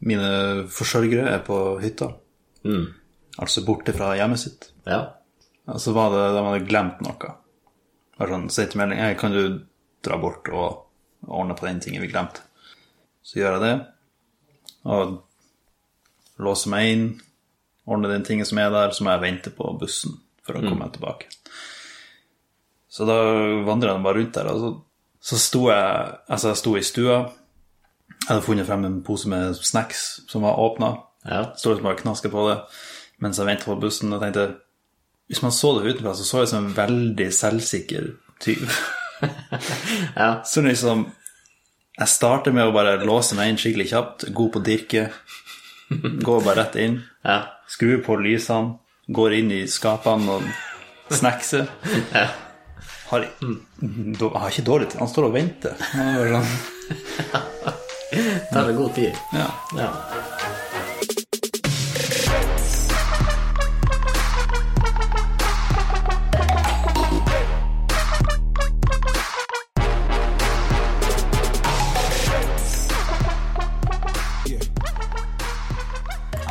mine forsørgere er på hytta, Mm. altså borte fra hjemmet sitt. Ja. Ja, så var det, de hadde glemt noe. Bare sånn, si til melding, «Hei, kan du dra bort og ordne på den tingen vi glemte? Så gjør jeg det, og låser meg inn, ordner den tingen som er der, så må jeg vente på bussen for å komme meg tilbake. Så da vandret jeg bare rundt der, og så, så sto jeg, altså jeg sto i stua, jeg hadde funnet frem en pose med snacks som var åpnet, Ja. Står liksom bare og knasker på det mens jeg venter på bussen og tenkte Hvis man så det utenfra, så så jeg som en veldig selvsikker tyv. Ja. Så liksom Jeg starter med å bare låse meg inn skikkelig kjapt, god på dirke, går bare rett inn, Ja. skrur på lysene, går inn i skapene og snackser. Har, mm, da- har ikke dårlig tid. Han står og venter. Han er bare sånn, Det er god tid. Ja. Ja.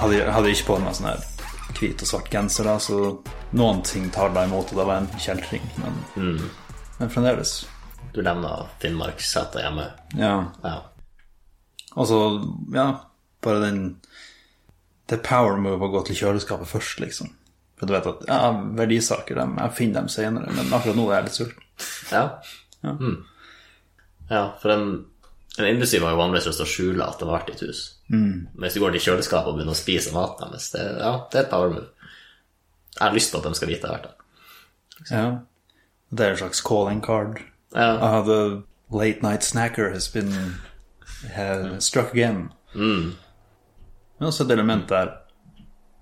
hadde, hadde ikke på meg sånn her hvit og svart genser, da, så noen ting tar deg imot, og da var jeg en kjeltring. Men, men fremdeles. Du nevner Finnmarkssetet hjemme. Ja. Ja. Og så, ja, bare den Det er power move å gå til kjøleskapet først, liksom. For du vet at ja, verdisaker, dem, jeg finner dem senere, men akkurat nå er jeg litt sulten. Ja. Mm. ja for en, en industri var jo vanligvis lyst til å skjule at det var vært i et hus. Men hvis du går til kjøleskapet og begynner å spise maten deres, det, ja, det er et power move. Jeg har lyst til at de skal vite det har vært der. Ja. liksom. Det er en slags calling card. Ja. Uh, the late night snacker has been uh, struck again. Men også et element der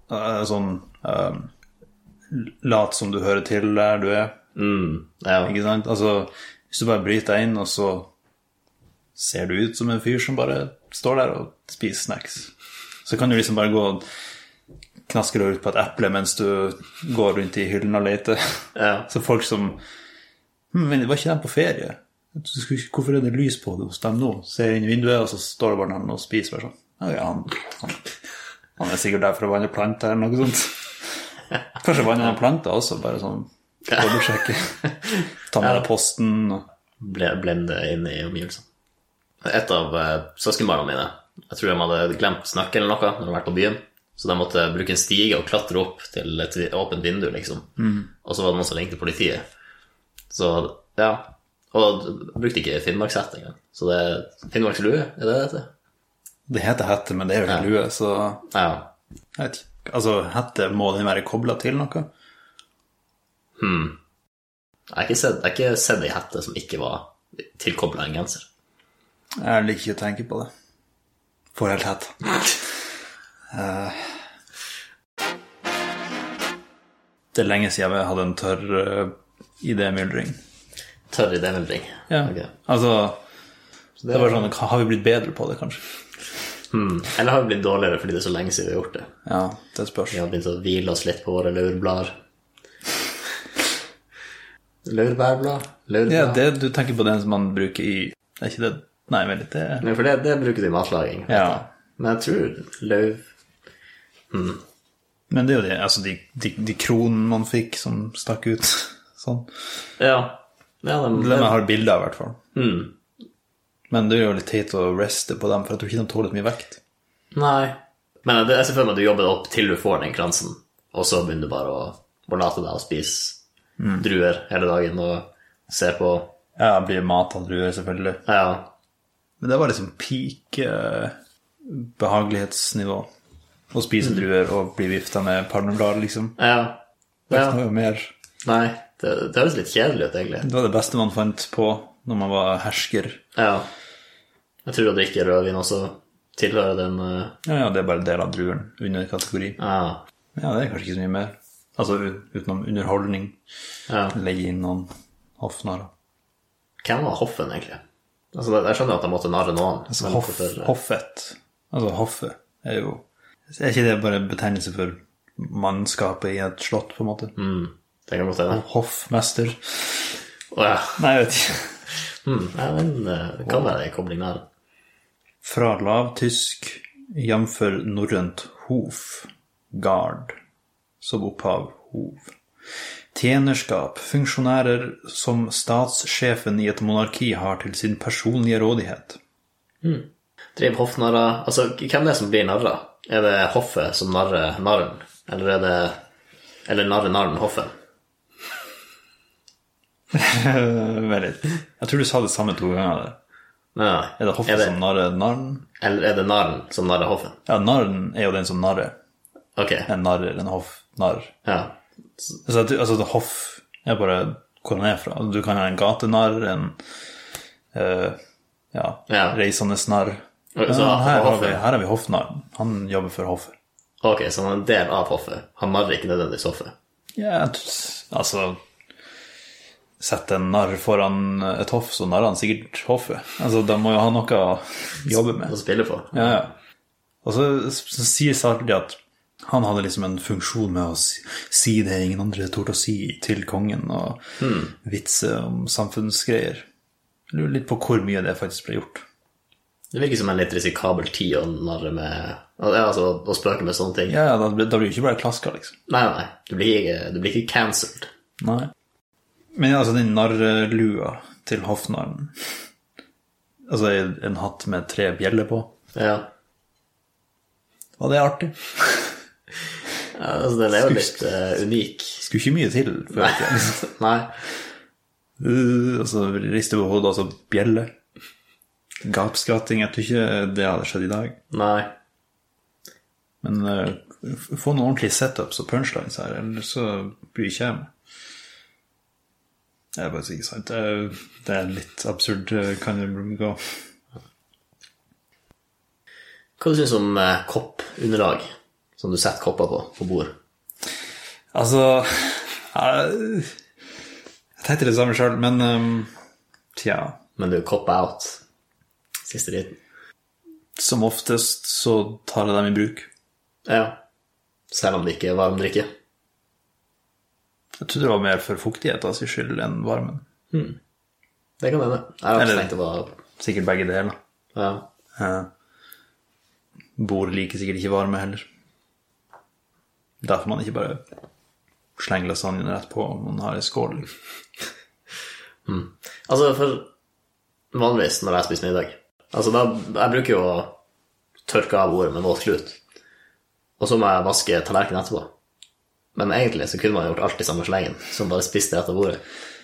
uh, sånn um, Lat som du hører til der du er, Ja. ikke sant? Altså, hvis du bare bryter deg inn, og så ser du ut som en fyr som bare står der og spiser snacks, så kan du liksom bare gå og knaske deg ut på et eple mens du går rundt i hyllen og leter. ja. Så folk som hm, Men var ikke de på ferie? Du skulle ikke- Hvorfor er det lys på det hos dem nå? Ser inn i vinduet, og så står det bare noen og spiser. Bare sånn. «Ja, Ja, han, han, han er sikkert der for å vanne planter eller noe sånt. Kanskje vanner han planter også, bare sånn dobbeltsjekke. Ta med deg posten og ble, blende inn i omgivelsene. Et av eh, søskenbarna mine, jeg tror de hadde glemt nøkkelen eller noe når de vært på byen, så de måtte bruke en stige og klatre opp til et vi- åpent vindu, liksom. Og så var det noen som ringte politiet. Så, ja. Og d- brukte ikke Finnmarkshett engang. Så det er Finnmarkslue, er det det heter? Det heter hette, men det er jo ikke lue, så Ja. jeg vet ikke. Altså, hette, må den være kobla til noe? Hmm. Jeg har ikke sett, jeg har ikke sett ei hette som ikke var tilkobla en genser. Jeg liker ikke å tenke på det. For helt hett. Eh. Det er lenge siden jeg hadde en tørr uh, idémyldring. Tørr idémyldring. Ok. Altså, det var sånn, har vi blitt bedre på det, kanskje? Hmm. Eller har vi blitt dårligere fordi det er så lenge siden vi har gjort det? Ja, det spørs. Vi har begynt å hvile oss litt på våre laurblader. Laurbærblad? Laurbær. Ja, det du tenker på den som man bruker i, er ikke det, nei, men det er, Nei, For det, det bruker de i matlaging. ja. Men jeg tror lauv Men det er jo det, altså de, de, de kronen man fikk som stakk ut, sånn. Ja. ja de, Dem jeg har bilder av, i hvert fall. Mm. Men det er jo litt teit å reste på dem, for jeg tror ikke de tåler så mye vekt. Nei. Men det, jeg ser for meg at du jobber deg opp til du får den kransen, og så begynner du bare å, å late deg å spise druer hele dagen og se på Ja, blir mat av druer, selvfølgelig. Ja. Men det var liksom peak eh, behagelighetsnivå. Å spise druer og bli vifta med palmeblad, liksom. ja. Det ja. var jo mer. Nei, det, det høres litt kjedelig ut, egentlig. Det var det beste man fant på når man var hersker. Ja. Jeg tror å drikke rødvin også tilhører den eh, Ja, ja, det er bare del av druen under kategori. Ja. Ja, det er kanskje ikke så mye mer. Altså u- utenom underholdning. ja. Legge inn noen hoffnarr. Hvem var hoffen, egentlig? Altså, jeg- Jeg skjønner at jeg måtte narre noen. Altså men hoff, hvorfor- hoffet. Altså hoffet er jo Er ikke det bare en betegnelse for mannskapet i et slott, på en måte? Mm, det kan godt hende. Hoffmester. Å ja. Hmm. Nei, jeg vet ikke. Mm, ja, men eh, det kan være en kobling der. Fra lavtysk jf. norrønt hof, gard, som opphav hov. Tjenerskap, funksjonærer som statssjefen i et monarki har til sin personlige rådighet. Driv hoffnarra Altså, hvem det er som blir narra? Er det hoffet som narrer narren? Eller er det Eller narrer narren hoffet? Eh, Vent litt. Jeg tror du sa det samme to ganger. der. Nei, nei. Er det hoffet Er det- som narrer narren? Eller er det narren som narrer hoffet? Ja, narren er jo den som narrer. Ok, En narrer, en hoffnarr. ja. Altså, at du- altså det hoff er bare hvor han er fra. Altså, Du kan ha en gatenarr, en eh, ja, Ja. reisende narr. Ok, så Men her, har vi, hoffet- her har vi hoffnarren. Han jobber for hoffet. Ok, så han er en del av hoffet. Han narrer ikke nødvendigvis hoffet. Ja, t- altså Sett en narr foran et hoff, så narrer han sikkert hoffet. Altså, de må jo ha noe å jobbe med. Han spiller på. Ja, ja. Og så, så sier Sartre at han hadde liksom en funksjon med å si, si det ingen andre torde å si til kongen, og vitse om samfunnsgreier. Jeg lurer litt på hvor mye det faktisk ble gjort. Det virker som en litt risikabel tid å narre med Ja, altså, å spøke med sånne ting. Ja, ja, da, blir- da blir det ikke bare klaska, liksom. Nei, nei, nei. Du blir ikke, du blir ikke cancelled. Nei. Men ja, altså den narrelua til hoffnarren Altså en hatt med tre bjeller på. Ja. Var det artig? ja altså, den er jo litt eh, unik. Skulle ikke mye til før i tida. nei. Uh, altså, rister på hodet, altså bjelle. Gapskratting. Jeg tror ikke det hadde skjedd i dag. Nei. Men eh, f- få noen ordentlige setups og punchlines her, ellers så bryr ikke jeg meg. Det er bare ikke sant. Det er, det er litt absurd, eh, kan det gå. Hva du syns du om eh, koppunderlag som du setter kopper på på bord? Altså Jeg, jeg tenkte det samme sjøl, men ehm, tja. Men du kopper out siste liten. Som oftest så tar jeg dem i bruk. Ja. Selv om det ikke er varm drikke. Jeg trodde det var mer for fuktighetens skyld enn varmen. Det kan hende. Jeg har Eller- også tenkt det var Sikkert begge deler. ja. Ja. Bor liker sikkert ikke varme heller. Derfor man ikke bare slenger lasagnen rett på om man har en skål. liksom. Altså, for vanligvis når jeg spiser middag Altså, da, jeg bruker jo å tørke av ordet med våt klut, og så må jeg vaske tallerkenen etterpå. Men egentlig så kunne man gjort alt i samme slengen, som bare spiste rett av bordet.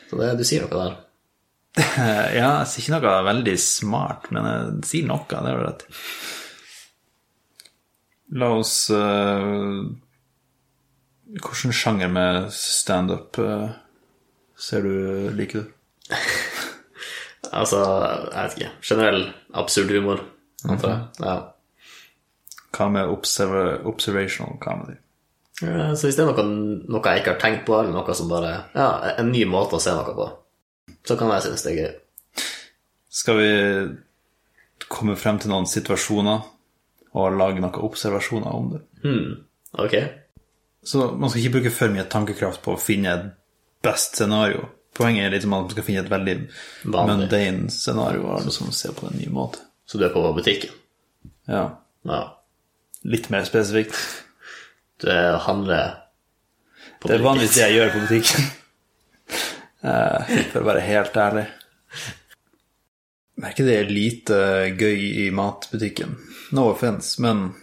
Så det, du sier noe der. Eh, Ja, jeg sier ikke noe veldig smart, men jeg sier noe, det er jo rett. La oss eh, Hvilken sjanger med standup uh, ser du liker du? Altså, jeg vet ikke. Generell absurd humor, antar jeg. Hva med observa- observational comedy? ja. Så hvis det er noe, noe jeg ikke har tenkt på, eller noe som bare Ja, en ny måte å se noe på, så kan jeg synes det er gøy. Skal vi komme frem til noen situasjoner og lage noen observasjoner om det? Ok? Så man skal ikke bruke for mye tankekraft på å finne et best scenario. Poenget er liksom at man skal finne et veldig Vanlig. mundane scenario og liksom se på en ny måte. Så du er på butikken? Ja, Ja. litt mer spesifikt. Du er- handler på Det er butikken. vanligvis det jeg gjør på butikken. Eh, For å være helt ærlig. Merker det er lite gøy i matbutikken. No offense, men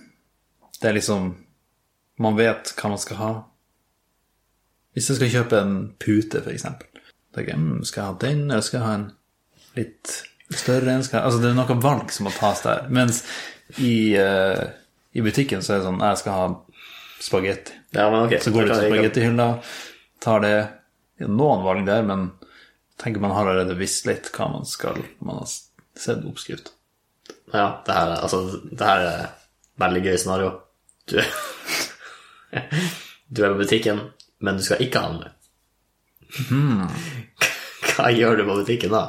det er liksom Man vet hva man skal ha. Hvis jeg skal kjøpe en pute, f.eks. Mm, skal jeg ha den, eller skal jeg ha en litt større en? Skal jeg... Altså, det er noen valg som må tas der. Mens i, eh, i butikken så er det sånn Jeg skal ha spagetti. Ja, men ok. Så går du Da til kan jeg ikke- spagettihylla, tar det ja, noen valg der, men tenker man har allerede visst litt hva man skal når man har sett oppskrift. Ja, det her, er- altså, det her er et veldig gøy scenario. Du er, du er på butikken, men du skal ikke handle. Hmm. Hva gjør du på butikken da?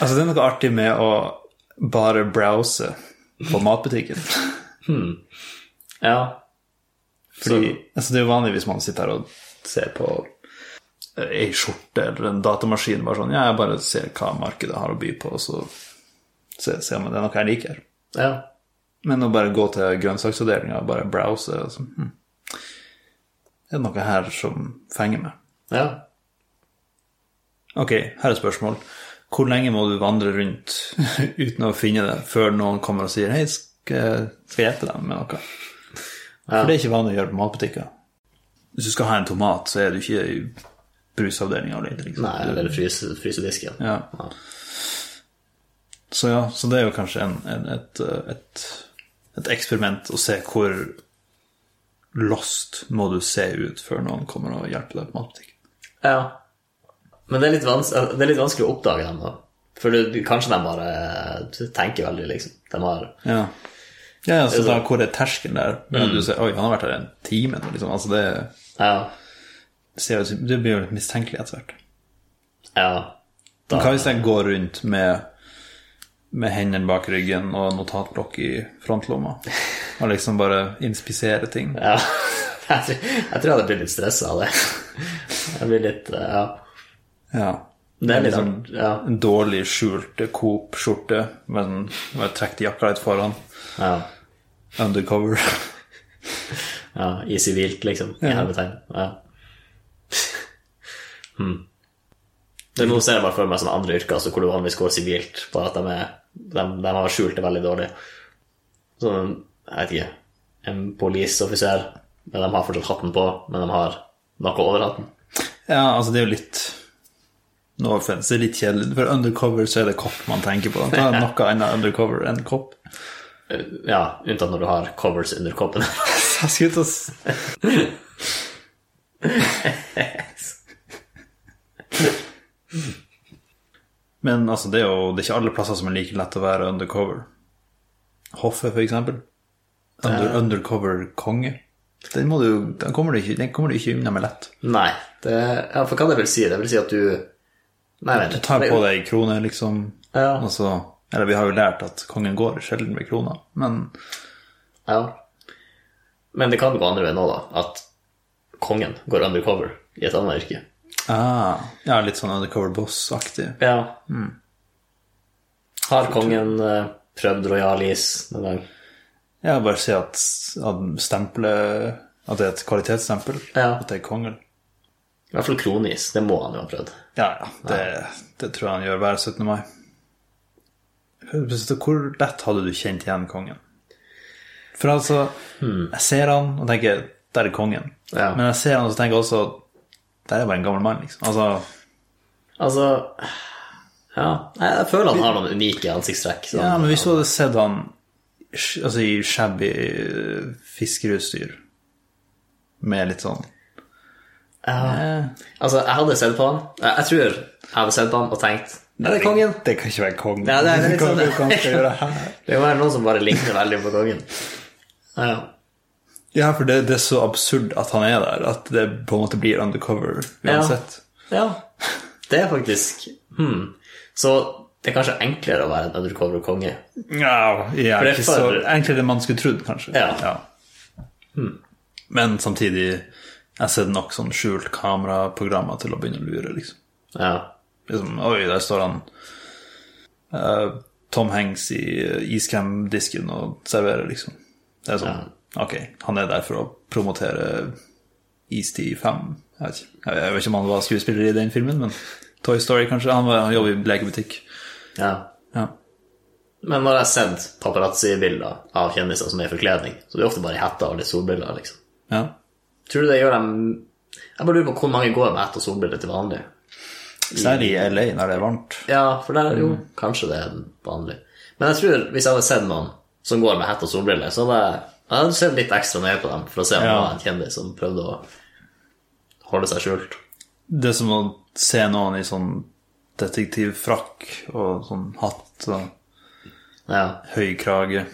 Altså, det er noe artig med å bare browse på matbutikken. Ja, Fordi, altså, det er jo vanlig hvis man sitter her og ser på eh, ei skjorte eller en datamaskin, bare sånn, ja, jeg bare ser hva markedet har å by på, og så ser, ser man det er noe jeg liker. Ja. Men å bare gå til grønnsaksavdelinga og bare browse og så, hm. Er det noe her som fenger meg? Ja. Ok, her er spørsmål. Hvor lenge må du vandre rundt uten å finne det, før noen kommer og sier 'hei, skal skal jeg hjelpe deg med noe'? For det er ikke vanlig å gjøre på matbutikker. Hvis du skal ha en tomat, så er du ikke i brusavdelinga og leter. Liksom. Nei, eller fryse, frysedisken. Ja. Så ja, så det er jo kanskje en, en, et, et, et eksperiment å se hvor lost må du se ut før noen kommer og hjelper deg på matbutikken. ja. Men det er, litt vans det er litt vanskelig å oppdage dem, da. For du, du, kanskje de bare tenker veldig, liksom. De har Ja. ja, så da hvor er Mm. terskelen der? Men Du ser, Oi, han har vært her en time nå, liksom. Altså, det, Ja. ser jo- det blir jo litt mistenkelig etter hvert. ja. Men hva hvis jeg går rundt med, med hendene bak ryggen og notatblokk i frontlomma, og liksom bare inspisere ting? Ja. Jeg tror jeg tror jeg hadde blitt litt stressa av det. Jeg blir litt eh, Ja. Ja. Det er litt Liksom, sånn Ja. En dårlig skjult Coop-skjorte, men bare trukket jakka litt foran. ja. Undercover. ja. I sivilt, liksom. I hermetegn. Ja. Hmm. Det Nå ser jeg bare for meg sånne andre yrker altså, hvor du vanligvis går sivilt, bare at de, er, de, de har skjult det veldig dårlig. Sånn, jeg vet ikke En politioffiser, men de har fortsatt hatten på, men de har noe over hatten. Ja, altså, det er jo litt No offense, det er litt kjedelig. For undercover så er det kopp man tenker på. Da er noe annet undercover enn kopp. Ja, unntatt når du har covers under kåpen. Jeg skulle til å s- Men altså, det er jo det er ikke alle plasser som er like lett å være undercover. Hoffet, for eksempel. Under, Undercover konge. Den, må du, den, kommer du ikke, den kommer du ikke unna med lett. Nei, det, ja, for hva det vil si? Det vil si at du Nei, vent Du litt. tar på deg kroner, liksom. Ja. Og så, eller vi har jo lært at kongen går sjelden med kroner, men Ja. Men det kan gå andre veien nå, da. At kongen går undercover i et annet yrke. ah, ja, litt sånn undercover boss-aktig. Ja. Mm. Har kongen eh, prøvd Royal Is noen gang? Ja, bare si at, at stempelet At det er et kvalitetsstempel. Ja. At det er kongen. I hvert fall kronis. Det må han jo ha prøvd. Ja, ja. Det, det tror jeg han gjør hver 17. mai. Så Hvor lett hadde du kjent igjen kongen? For altså, jeg ser han og tenker der er kongen. Hmm. Ja. Men jeg ser han og så tenker jeg også der er bare en gammel mann, liksom. Altså, Altså Ja. Nei, Jeg føler han har noen unike ansiktstrekk. sånn. ja, men hvis du hadde sett han sk- altså, i shabby eh, fiskerutstyr med litt sånn eh, Altså, jeg hadde sett på han. Jeg, jeg tror jeg hadde sett på han og tenkt Er det kongen? Det kan ikke være kongen. Ja, det er litt Hva- sånn- hva han skal gjøre her? Det må være noen som bare ligner veldig på kongen. Ja, ja. Ja, for det, det er så absurd at han er der, at det på en måte blir undercover uansett. ja. Det er faktisk hmm. Så det er kanskje enklere å være en undercover konge. Ja, ja det er ikke så for- Egentlig det man skulle trodd, kanskje. Ja. Hmm. Men samtidig, jeg har sett nok sånn skjult kameraprogrammer til å begynne å lure, liksom. Ja. liksom Oi, der står han eh, Tom Hanks i eh, iskremdisken og serverer, liksom. Det er sånn, ok, han er der for å promotere Istid 5. Jeg vet, ikke. jeg vet ikke om han var skuespiller i den filmen, men Toy Story, kanskje. Han, var, han jobber i lekebutikk. ja. Ja. Men når jeg har sett paparazzi-bilder av kjendiser som er i forkledning, så det er ofte bare i hetta og litt solbriller, liksom. ja. Tror du det gjør dem Jeg bare lurer på hvor mange går med hette og solbriller til vanlig. Særlig i LA når det er varmt. Ja, for der er jo Mm. kanskje det er vanlig. Men jeg tror hvis jeg hadde sett noen som går med hette og solbriller, så hadde jeg, jeg hadde sett litt ekstra nøye på dem for å se om det Ja. var en kjendis som prøvde å holde seg skjult. Det er som å se noen i sånn detektivfrakk og sånn hatt og Ja. høy krage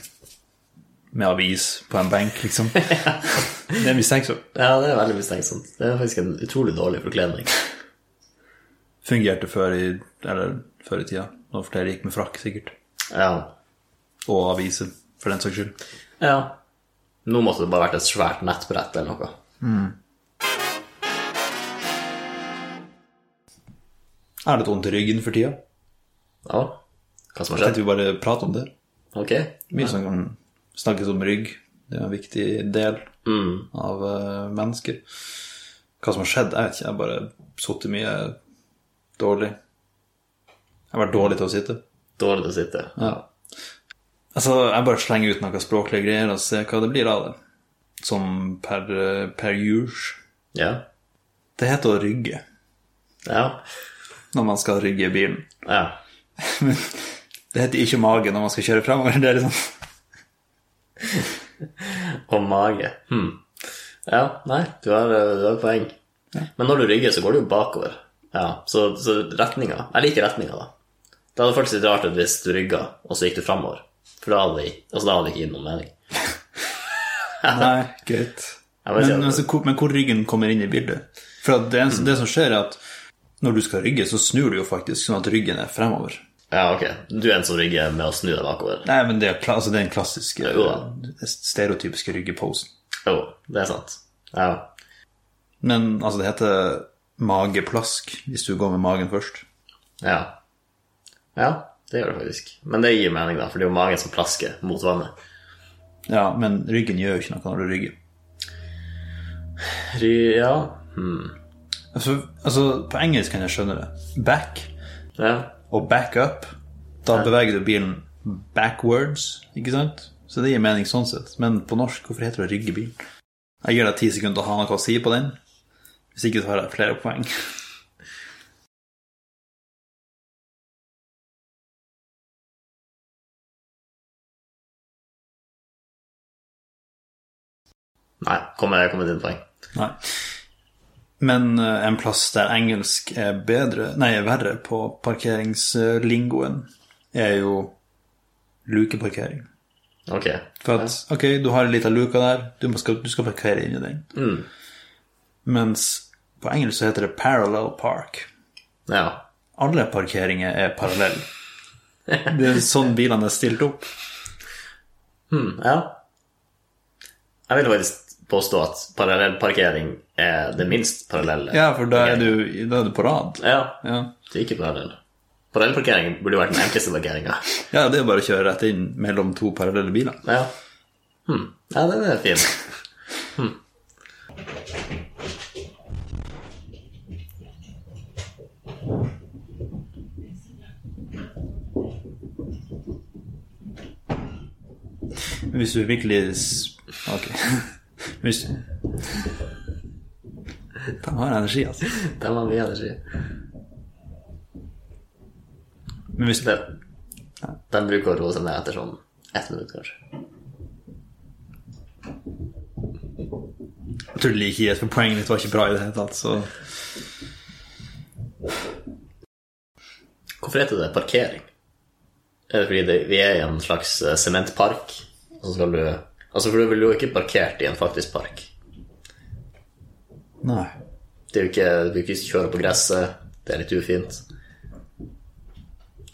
med avis på en benk, liksom. det er mistenksomt. ja, det er veldig mistenksomt. Det er faktisk en utrolig dårlig forkledning. Fungerte før i, eller, før i tida. Når flere gikk med frakk, sikkert. Ja. Og aviser, for den saks skyld. ja. Nå måtte det bare vært et svært nettbrett eller noe. Jeg har litt vondt i ryggen for tida. Ja. Hva som har Tenkte skjedd? vi bare prate om det. Ok. Mye sånn Snakkes om rygg. Det er en viktig del Mm. av eh, mennesker. Hva som har skjedd, jeg vet ikke. Jeg har bare sittet mye dårlig. Jeg har vært dårlig til å sitte. Dårlig å sitte. Ja. Altså, jeg bare slenger ut noen språklige greier og ser hva det blir av det. Som per, eh, per use. Ja. Det heter å rygge Ja. når man skal rygge bilen. ja. Men det heter ikke mage når man skal kjøre fremover. Det er liksom Og mage. Hm. Ja, nei, du har, eh, du har poeng. Men når du rygger, så går du jo bakover. Ja, Så, så retninga Jeg liker retninga, da. Det hadde faktisk litt rart ut hvis du rygga, og så gikk du framover. For da hadde det altså, da hadde det ikke gitt noen mening. Nei, greit. Jeg Men, vet altså- ikke. men, så hvor, men hvor ryggen kommer inn i bildet? For at det, det som skjer, er at når du skal rygge, så snur du jo faktisk sånn at ryggen er fremover. Ja, ok. Du er en som rygger med å snu deg bakover. Nei, men det er, kla- altså, det er den klassiske, Jo da. den stereotypiske ryggeposen. Jo, det er sant. Ja. Men altså, det heter mageplask hvis du går med magen først. Ja. ja, det gjør det faktisk. Men det gir mening, da, for det er jo magen som plasker mot vannet. Ja, men ryggen gjør jo ikke noe når du rygger. Ry... Ja. Altså, altså, på engelsk kan jeg skjønne det. Back ja. og back up. Da beveger du bilen backwards, ikke sant? Så det gir mening sånn sett. Men på norsk, hvorfor heter det å rygge bilen? Jeg gir deg ti sekunder til å ha noe å si på den. Hvis ikke så har jeg flere poeng. Nei, kommer jeg kommer til et poeng. Nei. Men eh, en plass der engelsk er bedre, nei, er verre på parkeringslingoen, er jo lukeparkering. Ok. For at, ok, du har en liten luke der, du, må skal, du skal parkere inn i den. Mm. Mens på engelsk så heter det parallel park. Ja. Alle parkeringer er parallelle. Det er sånn bilene er stilt opp. Mm, ja. Jeg vil faktisk påstå at parallellparkering er det minst parallelle. Ja, for da er du, da er du på rad. ja. Ja. Det er ikke parallell. Parallellparkering burde jo vært den enkleste parkeringa. ja, det er bare å kjøre rett inn mellom to parallelle biler. Ja. Hm. ja, den er fin. Hvis du virkelig s- Ok. Hvis De har energi, altså. Den var mye energi. Men hvis, Den, den bruker å roe seg ned etter sånn ett minutt, kanskje. jeg tror det liker greit, for poenget ditt var ikke bra i det hele tatt, så Hvorfor heter det parkering? Er det fordi det, vi er i en slags eh, sementpark, og så skal du Altså, for du ville jo ikke parkert i en faktisk park. Nei. Det er jo ikke Du kan ikke kjøre på gresset, det er litt ufint.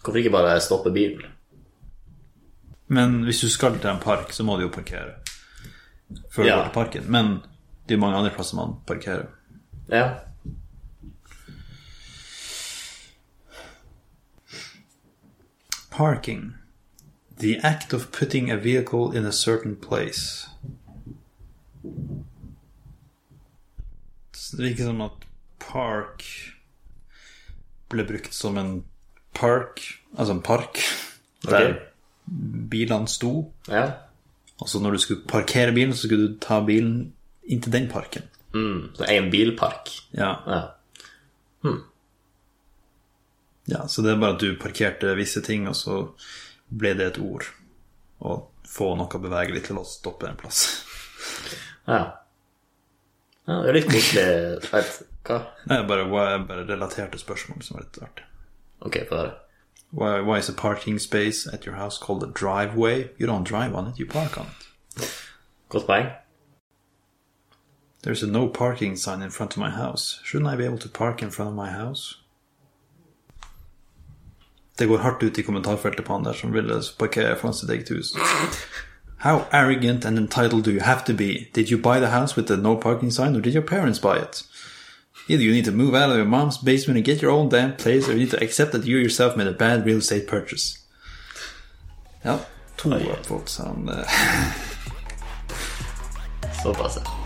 Hvorfor ikke bare stoppe bilen? Men hvis du skal til en park, så må du jo parkere før du Ja. går til parken. Men det er mange andre plasser man parkerer. Ja. Parking. The act of putting a vehicle in a certain place. Så Det virker som at park ble brukt som en park, altså en park, der bilene sto. Ja. Og så når du skulle parkere bilen, så skulle du ta bilen inn til den parken. Mm, så egen bilpark. Ja, Ja. ja så det er bare at du parkerte visse ting, og så ble det et ord. Å få noe bevegelig til å stoppe en plass. ja. ja det er litt koselig Vet hva? Nei, bare, hva- bare relaterte spørsmål som var litt artig. Ok, få høre. Why, why is a parking space at your house called a driveway? You don't drive on it, you park on it. Godt poeng. There's a no parking sign in front of my house. Shouldn't I be able to park in front of my house? Det går hardt ut i kommentarfeltet på han der som ville parkere foran sitt eget hus. How arrogant and entitled do you have to be? Did you buy the house with the no parking sign or did your parents buy it? Either you need to move out of your mom's basement and get your own damn place, or you need to accept that you yourself made a bad real estate purchase. Ja, To upvotes. Han, eh, Såpass, ja.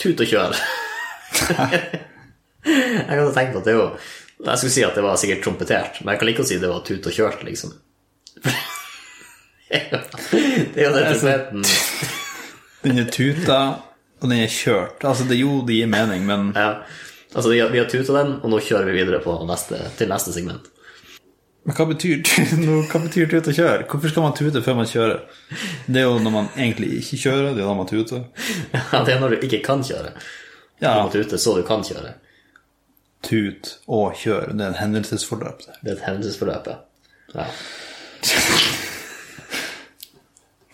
Tut og kjør. jeg kan jo tenke på at det er jo Jeg skulle si at det var sikkert trompetert, men jeg kan like å si det var tut og kjørt, liksom. det er jo den trompeten den er tuta, og den er kjørt. Altså, det, jo, det gir mening, men ja. Altså, vi har, vi har tuta den, og nå kjører vi videre på neste, til neste segment. Men hva betyr, tut- nå, hva betyr tut og kjør? Hvorfor skal man tute før man kjører? Det er jo når man egentlig ikke kjører, det er da man tuter. Ja, det er når du ikke kan kjøre. Ja, Du må tute så du kan kjøre. tut og kjør, det er en hendelsesforløp. det. Det er et hendelsesforløp, ja. ja.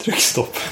Trykk stopp.